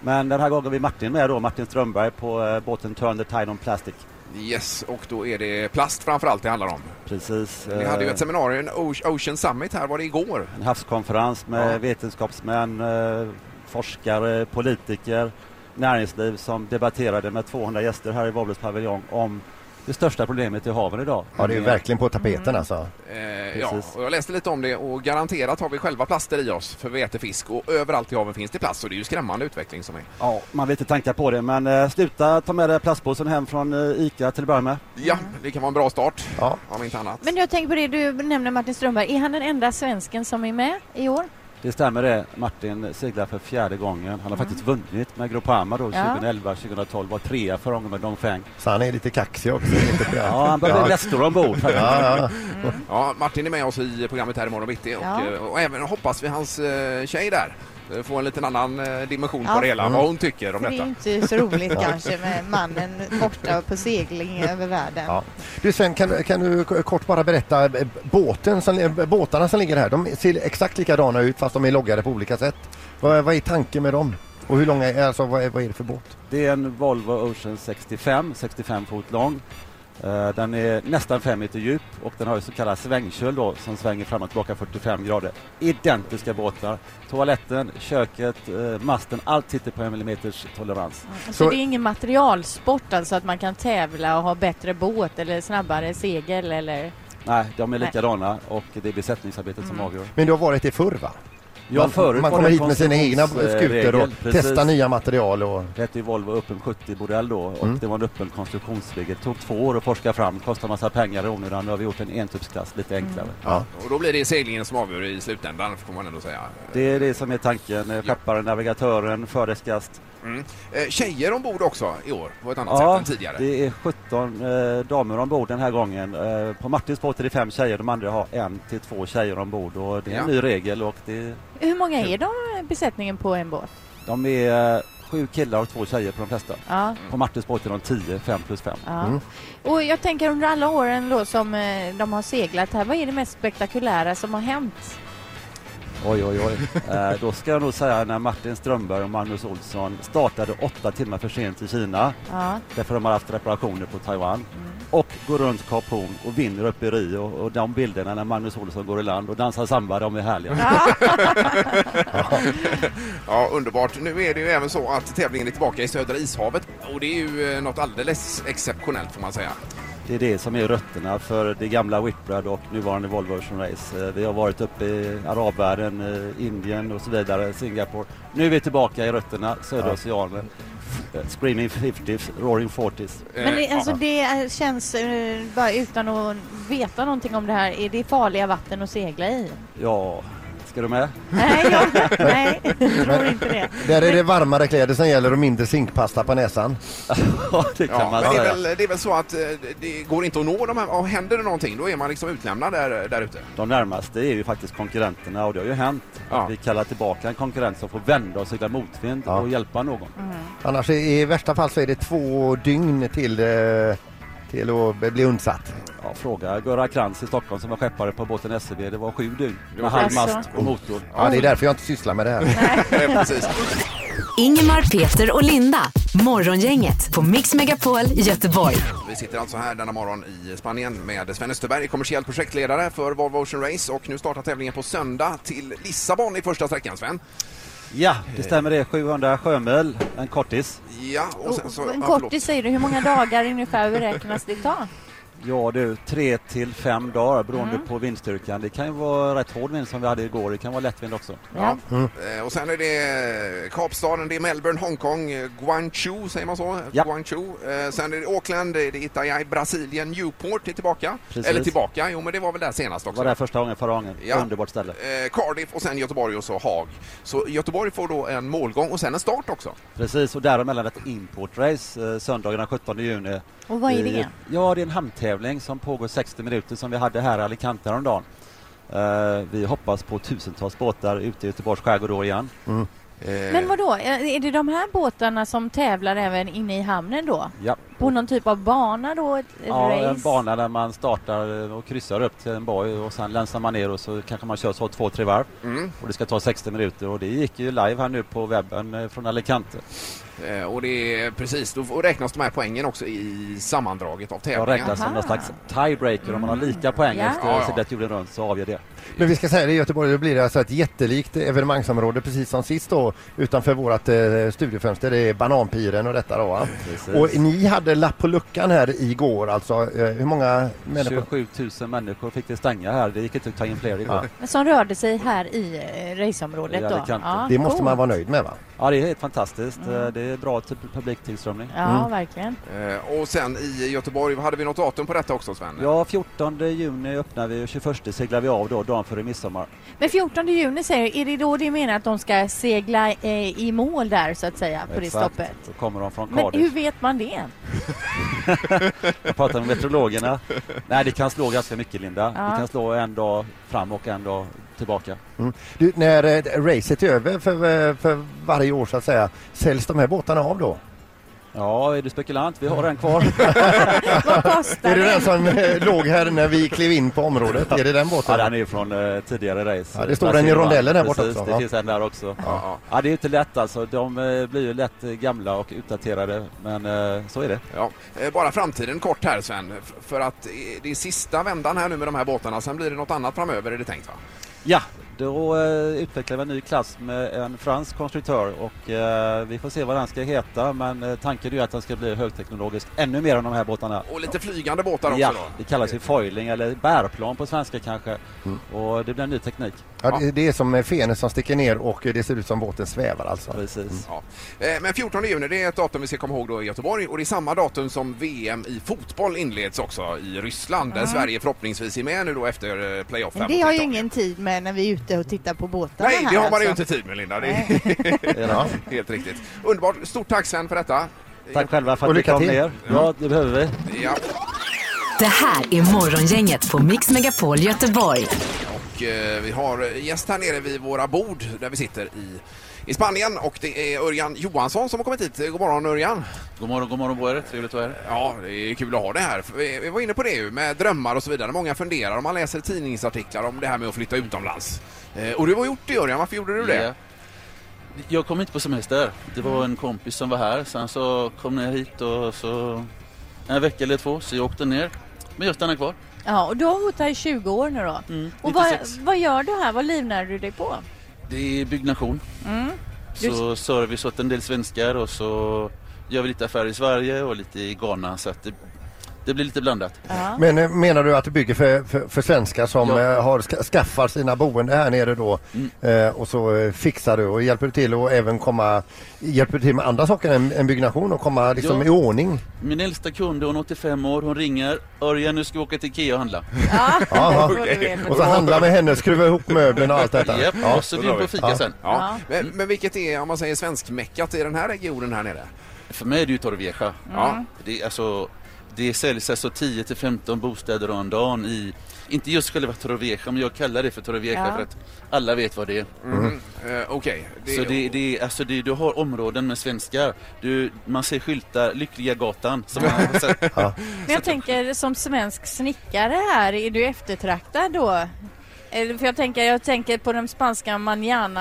Speaker 12: Men den här gången har vi Martin med då, Martin Strömberg på eh, båten Turn the Tide on Plastic.
Speaker 2: Yes, och då är det plast framför allt det handlar om.
Speaker 12: Precis.
Speaker 2: Vi hade ju
Speaker 12: eh,
Speaker 2: ett seminarium, en O- Ocean Summit här, var det igår?
Speaker 12: En havskonferens med
Speaker 2: Ja.
Speaker 12: vetenskapsmän, eh, forskare, politiker, näringsliv som debatterade med 200 gäster här i Vavlets paviljong om det största problemet i haven idag.
Speaker 4: Ja, det är ju verkligen på tapeten alltså.
Speaker 2: Eh, ja,
Speaker 12: Precis.
Speaker 2: och jag läste lite om det och garanterat har vi själva plaster i oss för vätefisk och överallt i haven finns det plast och det är ju skrämmande utveckling som är.
Speaker 12: Ja, man vill inte tanka på det, men eh, sluta ta med dig plastpåsen hem från eh, ICA till att börja med.
Speaker 2: Ja, det kan vara en bra start om inte annat.
Speaker 3: Mm. Men jag tänker på det du nämner Martin Strömberg, är han den enda svensken som är med i år?
Speaker 12: Det stämmer det. Martin seglar för fjärde gången. Han har faktiskt vunnit med Groupama då
Speaker 3: Mm. Ja.
Speaker 12: 2011, 2012. Var trea förra gången med Dongfeng.
Speaker 4: Så han är lite kaxig också.
Speaker 12: Ja, han behöver
Speaker 4: Ja.
Speaker 12: lästor ombord. faktiskt.
Speaker 4: Ja,
Speaker 2: ja. Martin är med oss i programmet här imorgon bitti och,
Speaker 3: Ja.
Speaker 2: eh, och även hoppas vi hans eh, tjej där eh, får en liten annan eh, dimension
Speaker 3: Ja.
Speaker 2: på det hela,
Speaker 3: Mm.
Speaker 2: vad hon tycker om
Speaker 3: För det är
Speaker 2: detta.
Speaker 3: ju inte så roligt kanske med mannen borta på segling över världen.
Speaker 4: Ja. Du Sven, kan, kan du k- kort bara berätta, eh, båten som, eh, båtarna som ligger här, de ser exakt likadana ut fast de är loggade på olika sätt. Vad, vad är tanken med dem? Och hur långa är, alltså, vad, är, vad är det för båt?
Speaker 12: Det är en Volvo Ocean 65, 65 fot lång. Eh, Den är nästan 5 meter djup och den har ju så kallad svängköl då, som svänger fram och tillbaka 45 grader. Identiska båtar. Toaletten, köket, eh, masten, allt sitter på en millimeters tolerans.
Speaker 3: Så, Alltså, det är ingen materialsport alltså att man kan tävla och ha bättre båt eller snabbare segel eller?
Speaker 12: Nej, de är
Speaker 3: Nej.
Speaker 12: likadana och det är besättningsarbetet som
Speaker 3: Mm.
Speaker 12: avgör.
Speaker 4: Men du har varit i förr va?
Speaker 12: Ja,
Speaker 4: man,
Speaker 12: förut
Speaker 4: man
Speaker 12: var
Speaker 4: kommer
Speaker 12: det
Speaker 4: hit med sina egna
Speaker 12: konstruktionsregel,
Speaker 4: skutor och
Speaker 12: eh, precis.
Speaker 4: testar nya material. Och...
Speaker 12: Det hette ju Volvo Öppen 70 modell då och
Speaker 4: Mm.
Speaker 12: det var en öppen konstruktionsregel. Det tog två år att forska fram, kostade massa pengar i onödan. Nu har vi gjort en entuppsklass lite
Speaker 3: Mm.
Speaker 12: enklare.
Speaker 2: Ja. Och då blir det seglingen som avgör i slutändan, får man ändå säga.
Speaker 12: Det är det som är tanken. Eh, Skepparen, navigatören, fördeskast.
Speaker 2: Mm. Eh, Tjejer ombord också i år, på ett annat sätt än tidigare.
Speaker 12: det är 17 eh, damer ombord den här gången. Eh, på Martins båt är det fem tjejer, de andra har en till två tjejer ombord. Och det är en
Speaker 3: Ja.
Speaker 12: ny regel och det,
Speaker 3: Hur många är de i besättningen på en båt?
Speaker 12: de är eh, sju killar och två tjejer på de flesta.
Speaker 3: Ja.
Speaker 12: På Martins båt är de 10, 5 plus 5.
Speaker 3: Ja. Och jag tänker under alla åren då som eh, de har seglat här, vad är det mest spektakulära som har hänt?
Speaker 12: Oj, oj, oj. Eh, då ska jag nog säga när Martin Strömberg och Magnus Olsson startade åtta timmar för sent i Kina.
Speaker 3: Ja.
Speaker 12: Därför de har haft reparationer på Taiwan. Och går runt Kap Horn och vinner uppe i Rio. Och de bilderna när Magnus Olsson går i land och dansar samba, de är härliga.
Speaker 2: Ja, underbart. Nu är det ju även så att tävlingen är tillbaka i Södra ishavet och det är ju eh, något alldeles exceptionellt får man säga.
Speaker 12: Det är det som är rötterna för det gamla Whitbread och nuvarande Volvo Ocean Race. Eh, Vi har varit uppe i arabvärlden, eh, Indien och så vidare, Singapore. Nu är vi tillbaka i rötterna, södra
Speaker 15: Ja.
Speaker 12: oceanen. Eh, Screaming 50s, Roaring 40s.
Speaker 3: Men
Speaker 2: Eh,
Speaker 3: det, alltså det är- känns, eh, bara utan att veta någonting om det här, är det farliga vatten att segla i?
Speaker 12: Ja, ska du med?
Speaker 3: Nej, jag, nej, jag tror inte det.
Speaker 4: Där är det varmare kläder som gäller och mindre zinkpasta på näsan.
Speaker 12: ja, det kan
Speaker 2: Ja, men det, är väl, det är väl så att eh, det går inte att nå de här, och händer det någonting då är man liksom utlämnad där, där ute.
Speaker 12: De närmaste är ju faktiskt konkurrenterna och det har ju hänt. att Vi kallar tillbaka en konkurrent som får vända och segla motvind och hjälpa någon.
Speaker 4: Annars i, i värsta fall så är det två dygn till, eh, till att bli undsatt.
Speaker 12: Ja, fråga Göran Krantz i Stockholm som var skeppare på båten SEB. Det var sju dygn
Speaker 4: Det
Speaker 12: med
Speaker 4: var sju dygn.
Speaker 3: Alltså,
Speaker 12: halvmast och motor.
Speaker 4: Ja, det är därför jag inte sysslar med det här.
Speaker 2: eh,
Speaker 1: Ingemar, Peter och Linda. Morgongänget på Mix Megapol Göteborg.
Speaker 2: Vi sitter alltså här denna morgon i Spanien med Sven Österberg, kommersiell projektledare för Volvo Ocean Race och nu startar tävlingen på söndag till Lissabon i första sträckan Sven.
Speaker 12: Ja, det stämmer det. 700 sjömil, en kortis.
Speaker 2: Ja, och sen så...
Speaker 3: En
Speaker 2: ja, förlåt.
Speaker 3: kortis säger du, hur många dagar ungefär beräknas det ta?
Speaker 12: Ja du, tre till fem dagar beroende
Speaker 3: Mm.
Speaker 12: på vindstyrkan. Det kan ju vara rätt hård vind som vi hade igår. Det kan vara lättvind också.
Speaker 2: Ja.
Speaker 12: Mm.
Speaker 2: Eh, Och sen är det eh, Kapstaden, det är Melbourne, Hongkong, eh, Guangzhou säger man så?
Speaker 12: Ja.
Speaker 2: Guangzhou. Eh, Sen är det Auckland, det är Itajai, Brasilien, Newport är tillbaka.
Speaker 12: Precis.
Speaker 2: Eller tillbaka, jo men det var väl där senast
Speaker 12: Var
Speaker 2: också.
Speaker 12: där första gången förra gången.
Speaker 2: Ja.
Speaker 12: Underbart ställe.
Speaker 2: Eh, Cardiff och sen Göteborg och så Haag. Så Göteborg får då en målgång och sen en start också.
Speaker 12: Precis, och däremellan ett importrace eh, söndagen den 17 juni.
Speaker 3: Och vad är
Speaker 12: I-
Speaker 3: det?
Speaker 12: Ja, det är en hamntävling som pågår 60 minuter som vi hade här i Alicante häromdagen. Eh, vi hoppas på tusentals båtar ute i Göteborgs skärgård då igen. Eh,
Speaker 3: Men vad då? är det de här båtarna som tävlar även inne i hamnen då?
Speaker 12: Ja,
Speaker 3: På någon typ av bana då? Ett
Speaker 12: ja
Speaker 3: race?
Speaker 12: en bana där man startar och kryssar upp till en boj och sen länsar man ner och så kanske man kör så två, tre varv.
Speaker 2: Mm.
Speaker 12: Och det ska ta 60 minuter och det gick ju live här nu på webben eh, från Alicante.
Speaker 2: Eh, Och det är precis, då får- räknas de här poängen också i sammandraget av
Speaker 12: Jag
Speaker 2: tävlingen.
Speaker 12: räknas som någon slags
Speaker 3: Ah.
Speaker 12: tiebreaker. Om man har
Speaker 3: Mm.
Speaker 12: lika poäng
Speaker 2: Ja.
Speaker 12: efter
Speaker 2: Ja, ja.
Speaker 12: seglat jorden runt så avgör det.
Speaker 4: Men vi ska säga det i Göteborg, då blir det alltså ett jättelikt evenemangsområde precis som sist då utanför vårat eh, studiofönster, det är Bananpiren och detta då va?
Speaker 12: Precis.
Speaker 4: Och ni hade lapp på luckan här igår alltså, eh, hur många människor?
Speaker 12: 27 000 människor fick det stänga här. Det gick inte att ta in fler igår.
Speaker 3: Som rörde sig här i eh, raceområdet
Speaker 12: Ja,
Speaker 3: då?
Speaker 12: det kan inte.
Speaker 4: Det måste
Speaker 3: coolt.
Speaker 4: man vara nöjd med va?
Speaker 12: Ja, det är helt fantastiskt.
Speaker 3: Mm.
Speaker 12: Eh, Det är bra till publiktillströmning.
Speaker 3: Ja, verkligen.
Speaker 2: Eh, Och sen i Göteborg, hade vi något datum på detta också Sven?
Speaker 12: Ja, 14 juni öppnar vi och 21 seglar vi av då, dagen före midsommar.
Speaker 3: Men 14 juni säger du, är det då det menar att de ska segla eh, i mål där så att säga på det
Speaker 12: Exakt.
Speaker 3: stoppet?
Speaker 12: Då kommer de från
Speaker 3: Men hur
Speaker 12: Cardiff.
Speaker 3: vet man det?
Speaker 12: Jag pratar med meteorologerna. Nej, det kan slå ganska mycket Linda.
Speaker 3: Ja.
Speaker 12: Det kan slå en dag fram och en dag tillbaka.
Speaker 4: Mm. Du, när eh, racet är över för, eh, för varje år så att säga, säljs de här båtarna av då?
Speaker 12: Ja, är du spekulant? Vi har en kvar.
Speaker 4: Är det den som eh, låg här när vi klev in på området? Är det den båten?
Speaker 12: Ja, den är ju från eh, tidigare race.
Speaker 4: Ja, det står den i rondellen där borta
Speaker 12: Precis,
Speaker 4: också,
Speaker 12: det
Speaker 4: va?
Speaker 12: finns en där också. Ja. det är ju inte lätt alltså. De eh, blir ju lätt eh, gamla och utdaterade, men eh, så är det.
Speaker 2: Ja, eh, bara framtiden kort här Sven, f- för att eh, det är sista vändan här nu med de här båtarna, sen blir det något annat framöver är det tänkt va?
Speaker 12: Ja, och eh, utvecklar en ny klass med en fransk konstruktör och eh, vi får se vad den ska heta men eh, tanken är ju att den ska bli högteknologisk ännu mer än de här båtarna.
Speaker 2: Och lite flygande båtar också
Speaker 12: ja,
Speaker 2: då.
Speaker 12: det kallas ju foiling eller bärplan på svenska kanske och det blir en ny teknik.
Speaker 4: Ja, det, det är som eh, fenor som sticker ner och eh, det ser ut som båten svävar alltså.
Speaker 12: Precis.
Speaker 2: Eh, Men 14 juni det är ett datum vi ska komma ihåg då i Göteborg och det är samma datum som VM i fotboll inleds också i Ryssland där
Speaker 3: Ja.
Speaker 2: Sverige förhoppningsvis är med nu då efter eh, playoff
Speaker 3: Men
Speaker 2: 15.
Speaker 3: det har ju ingen tid med när vi är ute och tittar på båtarna
Speaker 2: Nej,
Speaker 3: här
Speaker 2: det har man ju
Speaker 3: alltså.
Speaker 2: inte tid med Linda. Det är
Speaker 12: Ja.
Speaker 2: helt riktigt. Underbart. Stort tack Sven för detta.
Speaker 12: Tack själva för
Speaker 2: Och
Speaker 12: att ni
Speaker 2: lycka
Speaker 12: kom
Speaker 2: till.
Speaker 12: ner. Ja, det behöver vi.
Speaker 2: Ja,
Speaker 1: Det här är Morgongänget på Mix Megapol Göteborg.
Speaker 2: och eh, vi har gäst här nere vid våra bord där vi sitter i, i Spanien och det är Örjan Johansson som har kommit hit. Eh, God morgon Örjan.
Speaker 15: God morgon, god morgon på er. Trevligt att vara här.
Speaker 2: Ja, det är kul att ha det här. För Vi vi var inne på det ju med drömmar och så vidare. Många funderar om man läser tidningsartiklar om det här med att flytta utomlands. Eh, Och du har gjort det Örjan, varför gjorde du det?
Speaker 15: Ja. Jag kom inte på semester. Det var en kompis som var här. Sen så kom jag hit och så en vecka eller två så jag åkte ner. Men jag stannade kvar.
Speaker 16: Ja, och du har bott här i 20 år nu då.
Speaker 12: Mm,
Speaker 16: och vad,
Speaker 15: 96.
Speaker 16: vad gör du här? Vad livnär du dig på?
Speaker 15: Det är byggnation.
Speaker 16: Mm. Du-
Speaker 15: Så service åt en del svenskar och så gör vi lite affärer i Sverige och lite i Ghana. Så att det, det blir lite blandat.
Speaker 4: Men eh, menar du att du bygger för, för, för svenskar som eh, har ska, skaffar sina boende här nere då
Speaker 12: Mm.
Speaker 4: eh, och så eh, fixar du och hjälper du till och även komma, hjälper du till med andra saker än, än byggnation och komma liksom
Speaker 15: Ja.
Speaker 4: i ordning?
Speaker 15: Min äldsta kund, hon är 85 år, hon ringer. Örjan, nu ska vi åka till Ikea och handla.
Speaker 4: Ja, Och så handla med henne, skruva ihop möblerna och allt detta.
Speaker 15: Japp, och så bjuder vi på fika
Speaker 4: Ja.
Speaker 15: sen.
Speaker 2: Ja. Men, men vilket är, om man säger svenskmäckat i den här regionen här nere?
Speaker 15: För mig är det ju Torrevieja.
Speaker 2: Ja.
Speaker 15: Det, är alltså, det säljs alltså 10 till 15 bostäder om dagen i, inte just själva Torrevieja, men jag kallar det för Torrevieja
Speaker 2: Ja.
Speaker 15: för att alla vet vad det är.
Speaker 2: Mm. Eh, Okej. Det-
Speaker 15: Så det, det, är- alltså det, du har områden med svenskar. Du, man ser skyltar, Lyckliga gatan. Som man, så,
Speaker 16: Men jag tänker som svensk snickare här, är du eftertraktad då? Eller för jag tänker, jag tänker på den spanska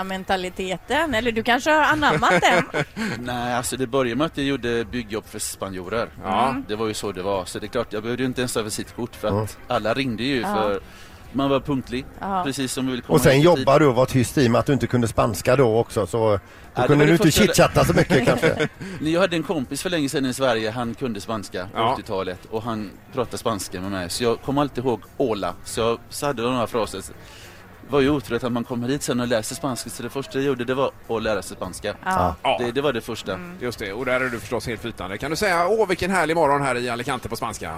Speaker 16: manana-mentaliteten. Eller du kanske har anammat den?
Speaker 15: Nej, alltså det började med att jag gjorde byggjobb för spanjorer.
Speaker 16: Ja. Mm.
Speaker 15: Det var ju så det var. Så det är klart, jag behövde ju inte ens ha visitkort för att
Speaker 4: Mm.
Speaker 15: alla ringde ju
Speaker 16: Ja.
Speaker 15: för man var punktlig,
Speaker 16: Ja.
Speaker 15: precis som vi vill komma
Speaker 4: Och sen
Speaker 15: hit i tid.
Speaker 4: jobbar du och var tyst i och med att du inte kunde spanska då också så då
Speaker 15: Ja, det
Speaker 4: kunde
Speaker 15: var
Speaker 4: du inte
Speaker 15: det första-
Speaker 4: chitchatta så mycket kanske.
Speaker 15: Nej, Jag hade en kompis för länge sedan i Sverige, han kunde spanska på
Speaker 4: Ja.
Speaker 15: 80-talet och han pratade spanska med mig. Så jag kommer alltid ihåg Ola, så jag så hade jag några fraser. Det var ju otroligt att man kommer hit sen och läser spanska, så det första jag gjorde det var att lära sig spanska.
Speaker 2: Ja.
Speaker 15: Det, det var det första. Mm.
Speaker 2: Just det, och där är du förstås helt flytande. Kan du säga åh vilken härlig morgon här i Alicante på spanska?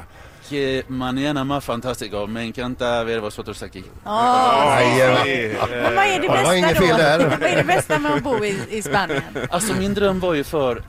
Speaker 15: Que mañana más fantástico, me encanta ver vosotros aquí.
Speaker 16: Ah. Men vad är det bästa då? Vad är det bästa med att bo i, i Spanien?
Speaker 15: Alltså min dröm var ju för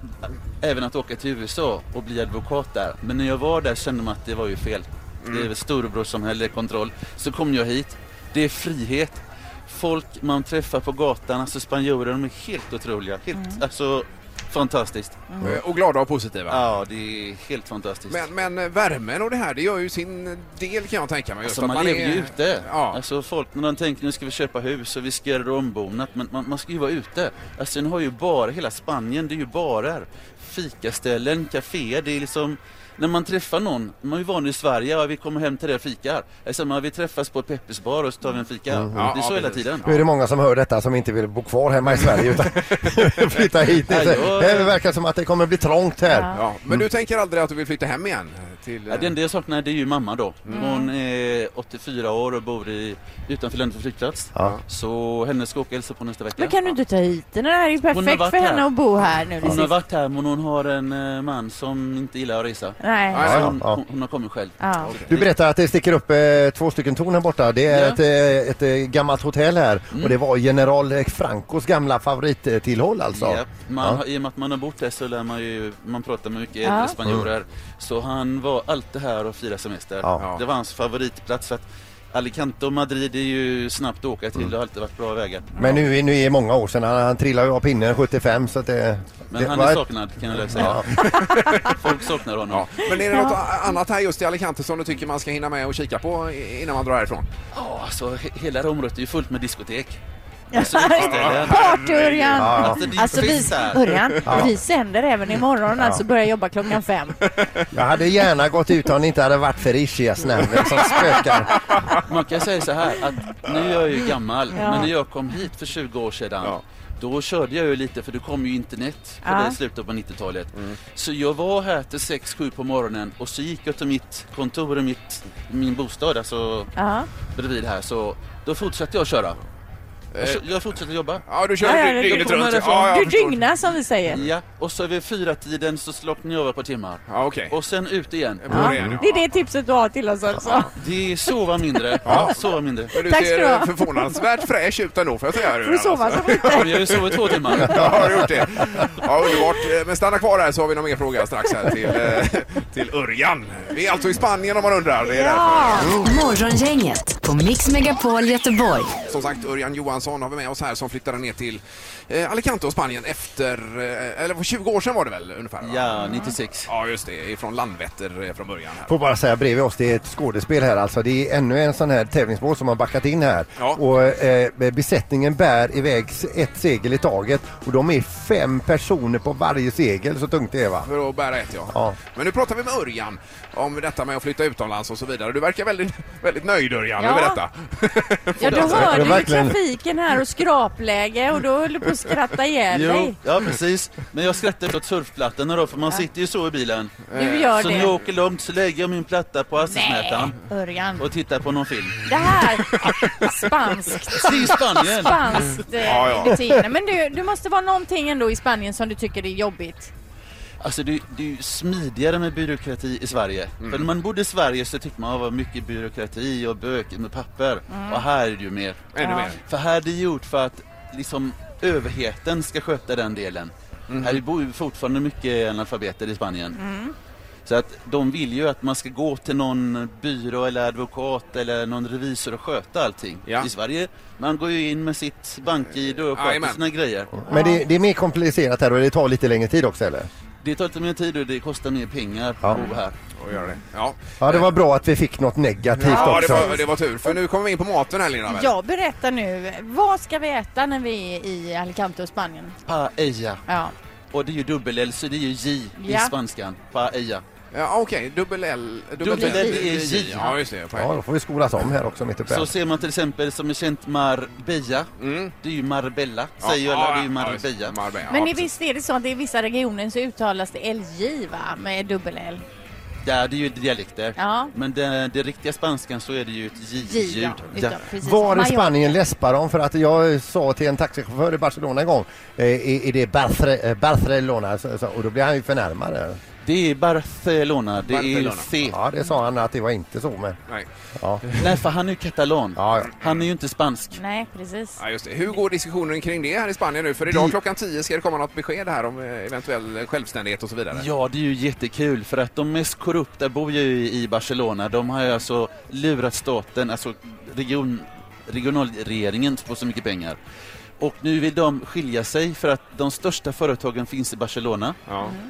Speaker 15: även att åka till USA och bli advokat där. Men när jag var där kände man att det var ju fel.
Speaker 2: Mm.
Speaker 15: Det är väl storebrorssamhälle, kontroll. Så kom jag hit. Det är frihet. Folk man träffar på gatan, alltså spanjorer, de är helt otroliga. Helt, Alltså fantastiskt.
Speaker 2: Mm. Och glada och positiva.
Speaker 15: Ja, det är helt fantastiskt.
Speaker 2: Men, men eh, värmen och det här, det gör ju sin del kan jag tänka mig. Just
Speaker 15: Alltså man,
Speaker 2: att
Speaker 15: lever ju
Speaker 2: är-
Speaker 15: ute. Alltså folk när de tänker nu ska vi köpa hus och vi ska göra det ombonat. Men man, man ska ju vara ute. Alltså ni har ju barer, hela Spanien det är ju barer. Fikaställen, kaféer, det är liksom när man träffar någon, man är ju van i Sverige, ja, vi kommer hem till dig och fikar. Alltså, man, vi träffas på Peppes bar och så tar vi en fika.
Speaker 4: Mm.
Speaker 15: Det är så hela tiden.
Speaker 4: Nu är det många som hör detta som inte vill bo kvar hemma i Sverige utan flytta hit.
Speaker 15: Ja, jag-
Speaker 4: Det verkar som att det kommer bli trångt här.
Speaker 2: Ja, men du tänker aldrig att du vill flytta hem igen? Till,
Speaker 15: Mm.
Speaker 2: eh,
Speaker 15: Ja, det enda jag saknar det är ju mamma då.
Speaker 2: Mm.
Speaker 15: Hon är 84 år och bor i, utanför Lönnefors flygplats. Så henne ska jag åka och hälsa på nästa vecka.
Speaker 16: Men kan du inte ta hit den? Det här är ju
Speaker 15: Hon har
Speaker 16: perfekt
Speaker 15: varit
Speaker 16: för henne
Speaker 15: här.
Speaker 16: att bo här nu.
Speaker 15: Hon har varit här men hon har en eh, man som inte gillar att resa.
Speaker 16: Nej.
Speaker 15: Så
Speaker 4: Ja,
Speaker 15: hon,
Speaker 4: ja.
Speaker 15: hon, hon har kommit själv.
Speaker 16: Ja.
Speaker 4: Du berättar att det sticker upp eh, två stycken torn här borta. Det är
Speaker 15: Ja.
Speaker 4: ett, eh, ett, eh, gammalt hotell här
Speaker 15: Mm.
Speaker 4: och det var general Francos gamla favorittillhåll alltså.
Speaker 15: Japp. Man,
Speaker 4: Ja.
Speaker 15: har- I och med att man har bott där så lär man ju, man pratar med mycket
Speaker 4: Ja.
Speaker 15: äldre
Speaker 4: Mm.
Speaker 15: spanjorer. Så han var alltid här och firade semester.
Speaker 4: Ja.
Speaker 15: Det var hans favoritplats för att Alicante och Madrid är ju snabbt att åka
Speaker 4: Mm.
Speaker 15: till, det har alltid varit bra vägar.
Speaker 4: Men nu, är- nu är det många år sedan, han, han trillade ju av pinnen 75 så att det...
Speaker 15: Men
Speaker 4: det
Speaker 15: han
Speaker 4: var-
Speaker 15: är saknad kan jag väl säga. Folk saknar honom.
Speaker 2: Men är det något a- annat här just i Alicante som du tycker man ska hinna med och kika på i- innan man drar härifrån?
Speaker 15: Ja, alltså he- hela det området är ju fullt med diskotek. Alltså, utställaren.
Speaker 3: Party-Örjan!
Speaker 15: Alltså, det är ju
Speaker 3: Alltså, vi,
Speaker 15: fest här.
Speaker 3: Örjan,
Speaker 4: Ja.
Speaker 3: vi sänder även imorgon,
Speaker 4: Ja.
Speaker 3: alltså börjar jobba klockan fem.
Speaker 4: Jag hade gärna gått ut om det inte hade varit för Ischias nämligen som spökar.
Speaker 15: Man kan säga så här att nu är jag ju gammal,
Speaker 3: Ja.
Speaker 15: men när jag kom hit för 20 år sedan Då körde jag ju lite, för det kom ju internet på
Speaker 17: Ja.
Speaker 15: det slutet på 90-talet.
Speaker 16: Mm.
Speaker 15: Så jag var här till 6-7 på morgonen och så gick jag till mitt kontor och mitt, min bostad, alltså
Speaker 16: Ja.
Speaker 15: bredvid här. Så då fortsatte jag köra. Jag, kö- jag fortsatte jobba.
Speaker 2: Ja, du
Speaker 16: Ja, ja, du kommer därifrån. du dygnar som vi säger.
Speaker 15: Ja, och så vid fyra tiden så slocknade jag över ett par timmar.
Speaker 2: Ja, okay.
Speaker 15: Och sen ut igen.
Speaker 16: Ja, det är det tipset du har till oss också.
Speaker 15: Det är sova mindre. Sova mindre.
Speaker 2: Men du
Speaker 16: Tack ska du
Speaker 2: ser eh,
Speaker 16: ha.
Speaker 2: förvånansvärt fräsch ut ändå får jag säga.
Speaker 16: Får du sova så
Speaker 15: Ja, men jag har ju sovit två timmar.
Speaker 2: Ja, har du gjort det? Ja, underbart. Eh, Men stanna kvar här så har vi någon mer fråga strax här till, eh, till Örjan. Vi är alltså i Spanien om man undrar. Det är därför.
Speaker 1: Morgongänget på Mix Megapol Göteborg.
Speaker 2: Som sagt, Örjan Johansson har vi med oss här som flyttade ner till eh, Alicante och Spanien efter, eh, eller för 20 år sedan var det väl ungefär?
Speaker 15: Ja, 96.
Speaker 2: Ja, just det. Från Landvetter eh, från början. Här.
Speaker 4: Får bara säga bredvid oss, det är ett skådespel här alltså. Det är ännu en sån här tävlingsmål som har backat in här.
Speaker 2: Ja.
Speaker 4: Och eh, besättningen bär iväg s- ett segel i taget och de är fem personer på varje segel, så tungt det är va?
Speaker 2: För att bära ett, ja.
Speaker 4: Ja.
Speaker 2: Men nu pratar vi med Örjan om detta med att flytta utomlands och så vidare. Du verkar väldigt, väldigt nöjd, Örjan,
Speaker 16: Ja.
Speaker 2: över detta.
Speaker 16: Ja, du
Speaker 2: Fortsätt.
Speaker 16: hörde ju trafiken här och skrapläge och då höll du på att skratta ihjäl
Speaker 15: Jo,
Speaker 16: dig.
Speaker 15: ja precis. Men jag skrattar åt surfplattorna då, för man sitter ju så i bilen.
Speaker 16: Du gör
Speaker 15: så
Speaker 16: det.
Speaker 15: när jag åker långt så lägger jag min platta på hastighetsmätaren
Speaker 16: Örjan.
Speaker 15: och tittar på någon film.
Speaker 16: Det här, spanskt.
Speaker 15: Det är Spanien.
Speaker 16: Spanskt eh,
Speaker 15: Ja, ja.
Speaker 16: beteende. Men du, du måste vara någonting ändå i Spanien som du tycker är jobbigt.
Speaker 15: Alltså det, det är ju smidigare med byråkrati i Sverige. För när man bodde i Sverige så tyckte man att det var mycket byråkrati och böcker med papper.
Speaker 17: Mm.
Speaker 15: Och här är det ju mer.
Speaker 17: Ännu Ja. mer.
Speaker 15: För här är det gjort för att liksom överheten ska sköta den delen. Här bor ju fortfarande mycket analfabeter i Spanien. Så att de vill ju att man ska gå till någon byrå eller advokat eller någon revisor och sköta allting. I Sverige, man går ju in med sitt bank-id och sköter
Speaker 2: Jajamän.
Speaker 15: sina grejer.
Speaker 4: Men det, det är mer komplicerat här och det tar lite längre tid också eller?
Speaker 15: Det tar lite mer tid och det kostar mer pengar
Speaker 4: Ja.
Speaker 15: att bo här.
Speaker 2: Och göra det. Ja.
Speaker 4: Ja, det var bra att vi fick något negativt
Speaker 2: Ja, det
Speaker 4: också.
Speaker 2: var, det var tur. För nu kommer vi in på maten här, Lina. väl?
Speaker 16: Jag berättar nu, vad ska vi äta när vi är i Alicante och Spanien?
Speaker 15: Paella.
Speaker 16: Ja.
Speaker 15: "Ah, Och det är ju dubbel-L, så det är ju J
Speaker 16: Ja.
Speaker 15: i spanskan. Paella.
Speaker 2: Ja, Okej, dubbel L.
Speaker 15: Dubbel L är J.
Speaker 2: Ja, just det.
Speaker 4: Ja, då får vi skolas om här också mitt uppe.
Speaker 15: Så ser man till exempel som är känt Marbella. Det är ju Marbella,
Speaker 4: Ja,
Speaker 15: säger ju
Speaker 4: ja,
Speaker 15: alla. Det är ju
Speaker 4: ja,
Speaker 15: Marbella.
Speaker 16: Men i visst är det så att i vissa regioner så uttalas det LJ va? Med dubbel-L.
Speaker 15: Ja, det är ju dialekter.
Speaker 16: Ja.
Speaker 15: Men den, den riktiga spanskan så är det ju ett
Speaker 16: J, ja.
Speaker 15: J-ljud.
Speaker 16: Utan, precis.
Speaker 4: Var i
Speaker 16: Mallorca.
Speaker 4: Spanien läspar de? För att jag sa till en taxichaufför i Barcelona en gång, eh, är är det Barthre- eh, Barcelona? Så- så- Och då blev han ju förnärmad.
Speaker 15: Det är Barcelona, det är ju C.
Speaker 4: Ja, det sa han att det var inte så men.
Speaker 2: Nej.
Speaker 4: Ja.
Speaker 15: Nej, för han är ju katalan. Han är ju inte spansk.
Speaker 16: Nej, precis.
Speaker 2: Ja, just det. Hur går diskussionen kring det här i Spanien nu? För idag klockan 10 ska det komma något besked här om eh, eventuell självständighet och så vidare.
Speaker 15: Ja, det är ju jättekul för att de mest korrupta bor ju i i Barcelona. De har ju alltså lurat staten, alltså region, regionalregeringen på så mycket pengar. Och nu vill de skilja sig för att de största företagen finns i Barcelona.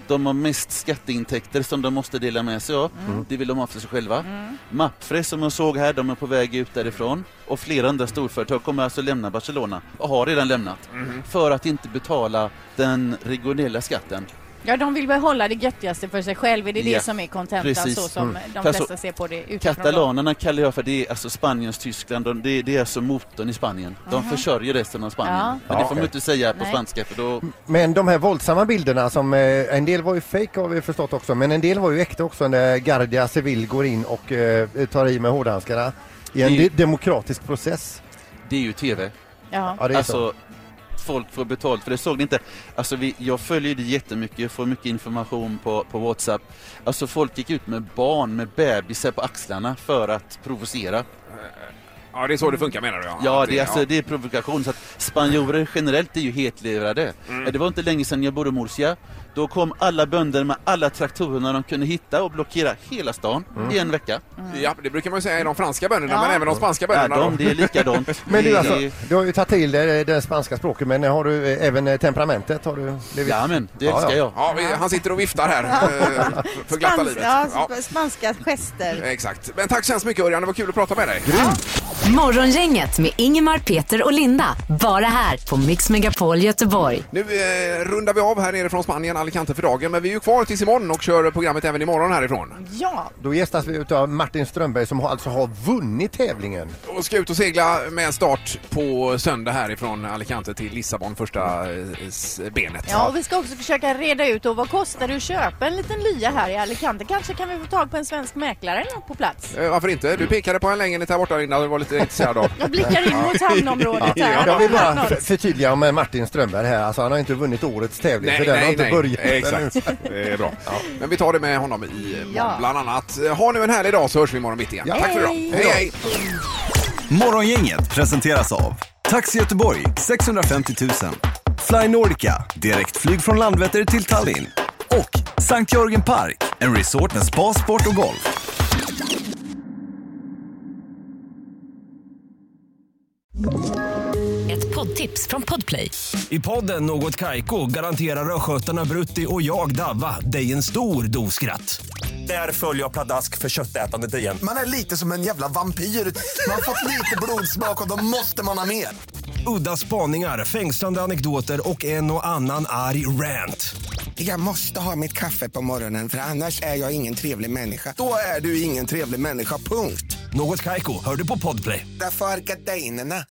Speaker 15: De har mest skatteintäkter som de måste dela med sig av. Det vill de ha för sig själva. Mapfre som jag såg här, de är på väg ut därifrån. Och flera andra storföretag kommer alltså lämna Barcelona och har redan lämnat.
Speaker 2: Mhm.
Speaker 15: För att inte betala den regionella skatten.
Speaker 16: Ja, de vill behålla det göttigaste för sig själv. Är det
Speaker 15: Ja,
Speaker 16: det som är kontentan
Speaker 15: precis.
Speaker 16: så som
Speaker 15: Mm.
Speaker 16: de
Speaker 15: Fast
Speaker 16: flesta
Speaker 15: så-
Speaker 16: ser på det utifrån? då?
Speaker 15: Katalanerna kallar jag för det är alltså Spaniens Tyskland, de, det, det är alltså motorn i Spanien. De
Speaker 16: Mhm.
Speaker 15: försörjer resten av Spanien.
Speaker 16: Ja.
Speaker 15: Men
Speaker 4: Ja,
Speaker 15: det får
Speaker 4: okej.
Speaker 15: man inte säga på
Speaker 4: Nej.
Speaker 15: spanska för då...
Speaker 4: Men de här våldsamma bilderna som, eh, en del var ju fake har vi förstått också, men en del var ju äkta också när Gardia Civil går in och eh, tar i med hårdhandskarna i en
Speaker 15: Det-
Speaker 4: de- demokratisk process.
Speaker 15: Det är ju TV.
Speaker 16: Ja.
Speaker 4: Ja, det är
Speaker 15: alltså, folk får betalt för det. Såg ni inte? Alltså, vi, jag följer det jättemycket, jag får mycket information på, på Whatsapp. Alltså, folk gick ut med barn, med bebisar på axlarna för att provocera.
Speaker 2: Ja, det är så det funkar menar du? Ja,
Speaker 15: Ja,
Speaker 2: Att
Speaker 15: det, är alltså,
Speaker 2: ja.
Speaker 15: det är provokation. Så att spanjorer generellt är ju hetlevrade. Det var inte länge sedan jag bodde i Murcia. Då kom alla bönder med alla traktorerna de kunde hitta och blockera hela stan i en vecka.
Speaker 3: Mm.
Speaker 2: Ja, det brukar man ju säga i de franska bönderna,
Speaker 15: Ja.
Speaker 2: men även de spanska
Speaker 15: Ja,
Speaker 2: bönderna.
Speaker 15: de, det är likadant.
Speaker 4: Men
Speaker 15: Det
Speaker 4: du,
Speaker 15: är-
Speaker 4: alltså, du har ju tagit till det, det spanska språket men har du eh, även eh, temperamentet? Har du blivit...
Speaker 15: Jajamän, det älskar jag.
Speaker 2: Ja, vi, han sitter och viftar här eh, för- för glatta
Speaker 3: Spans,
Speaker 2: livet.
Speaker 3: ja,
Speaker 2: Ja,
Speaker 3: sp- spanska gester.
Speaker 2: exakt. Men tack så hemskt mycket Örjan, det var kul att prata med dig.
Speaker 1: Morgongänget med Ingemar, Peter och Linda. Bara här på Mix Megapol Göteborg.
Speaker 2: Nu eh, rundar vi av här nere från Spanien, Alicante för dagen, men vi är ju kvar tills imorgon och kör programmet även imorgon härifrån.
Speaker 3: Ja.
Speaker 4: Då gästas vi utav Martin Strömberg som har- alltså har vunnit tävlingen.
Speaker 2: Och ska ut och segla med start på söndag härifrån Alicante till Lissabon, första eh, s- benet.
Speaker 3: Ja, och vi ska också försöka reda ut och vad kostar det att köpa en liten lya här i Alicante? Kanske kan vi få tag på en svensk mäklare eller något på plats?
Speaker 2: Eh, Varför inte? Du pekade på en lägenhet här borta Linda, du var lite intresserad av.
Speaker 3: Jag blickar in mot hamnområdet här.
Speaker 4: Jag vill bara för- förtydliga med Martin Strömberg här, alltså han har inte vunnit årets tävling för den har inte börjat
Speaker 2: Exakt,
Speaker 4: ännu.
Speaker 2: det är bra. Men vi tar det med honom i
Speaker 4: Ja.
Speaker 2: ja. bland annat. Ha nu en härlig dag så hörs vi imorgon mitt igen.
Speaker 4: Ja.
Speaker 2: Tack för idag.
Speaker 4: Hej.
Speaker 2: Hej, hej.
Speaker 7: Morgongänget presenteras av Taxi Göteborg 650 000 Fly Nordica, direktflyg från Landvetter till Tallinn och Sankt Jörgen Park, en resort med spa, sport och golf.
Speaker 1: Ett poddtips från Podplay.
Speaker 7: I podden Något Kaiko garanterar östgötarna Brutti och jag, Davva, dig en stor dos skratt. Där följer jag pladask för köttätandet igen.
Speaker 17: Man är lite som en jävla vampyr. Man har fått lite blodsmak och då måste man ha mer.
Speaker 7: Udda spaningar, fängslande anekdoter och en och annan arg rant.
Speaker 17: Jag måste ha mitt kaffe på morgonen för annars är jag ingen trevlig människa. Då är du ingen trevlig människa, punkt.
Speaker 7: Något Kaiko, hör du på Podplay.
Speaker 17: Därför arkadeinerna.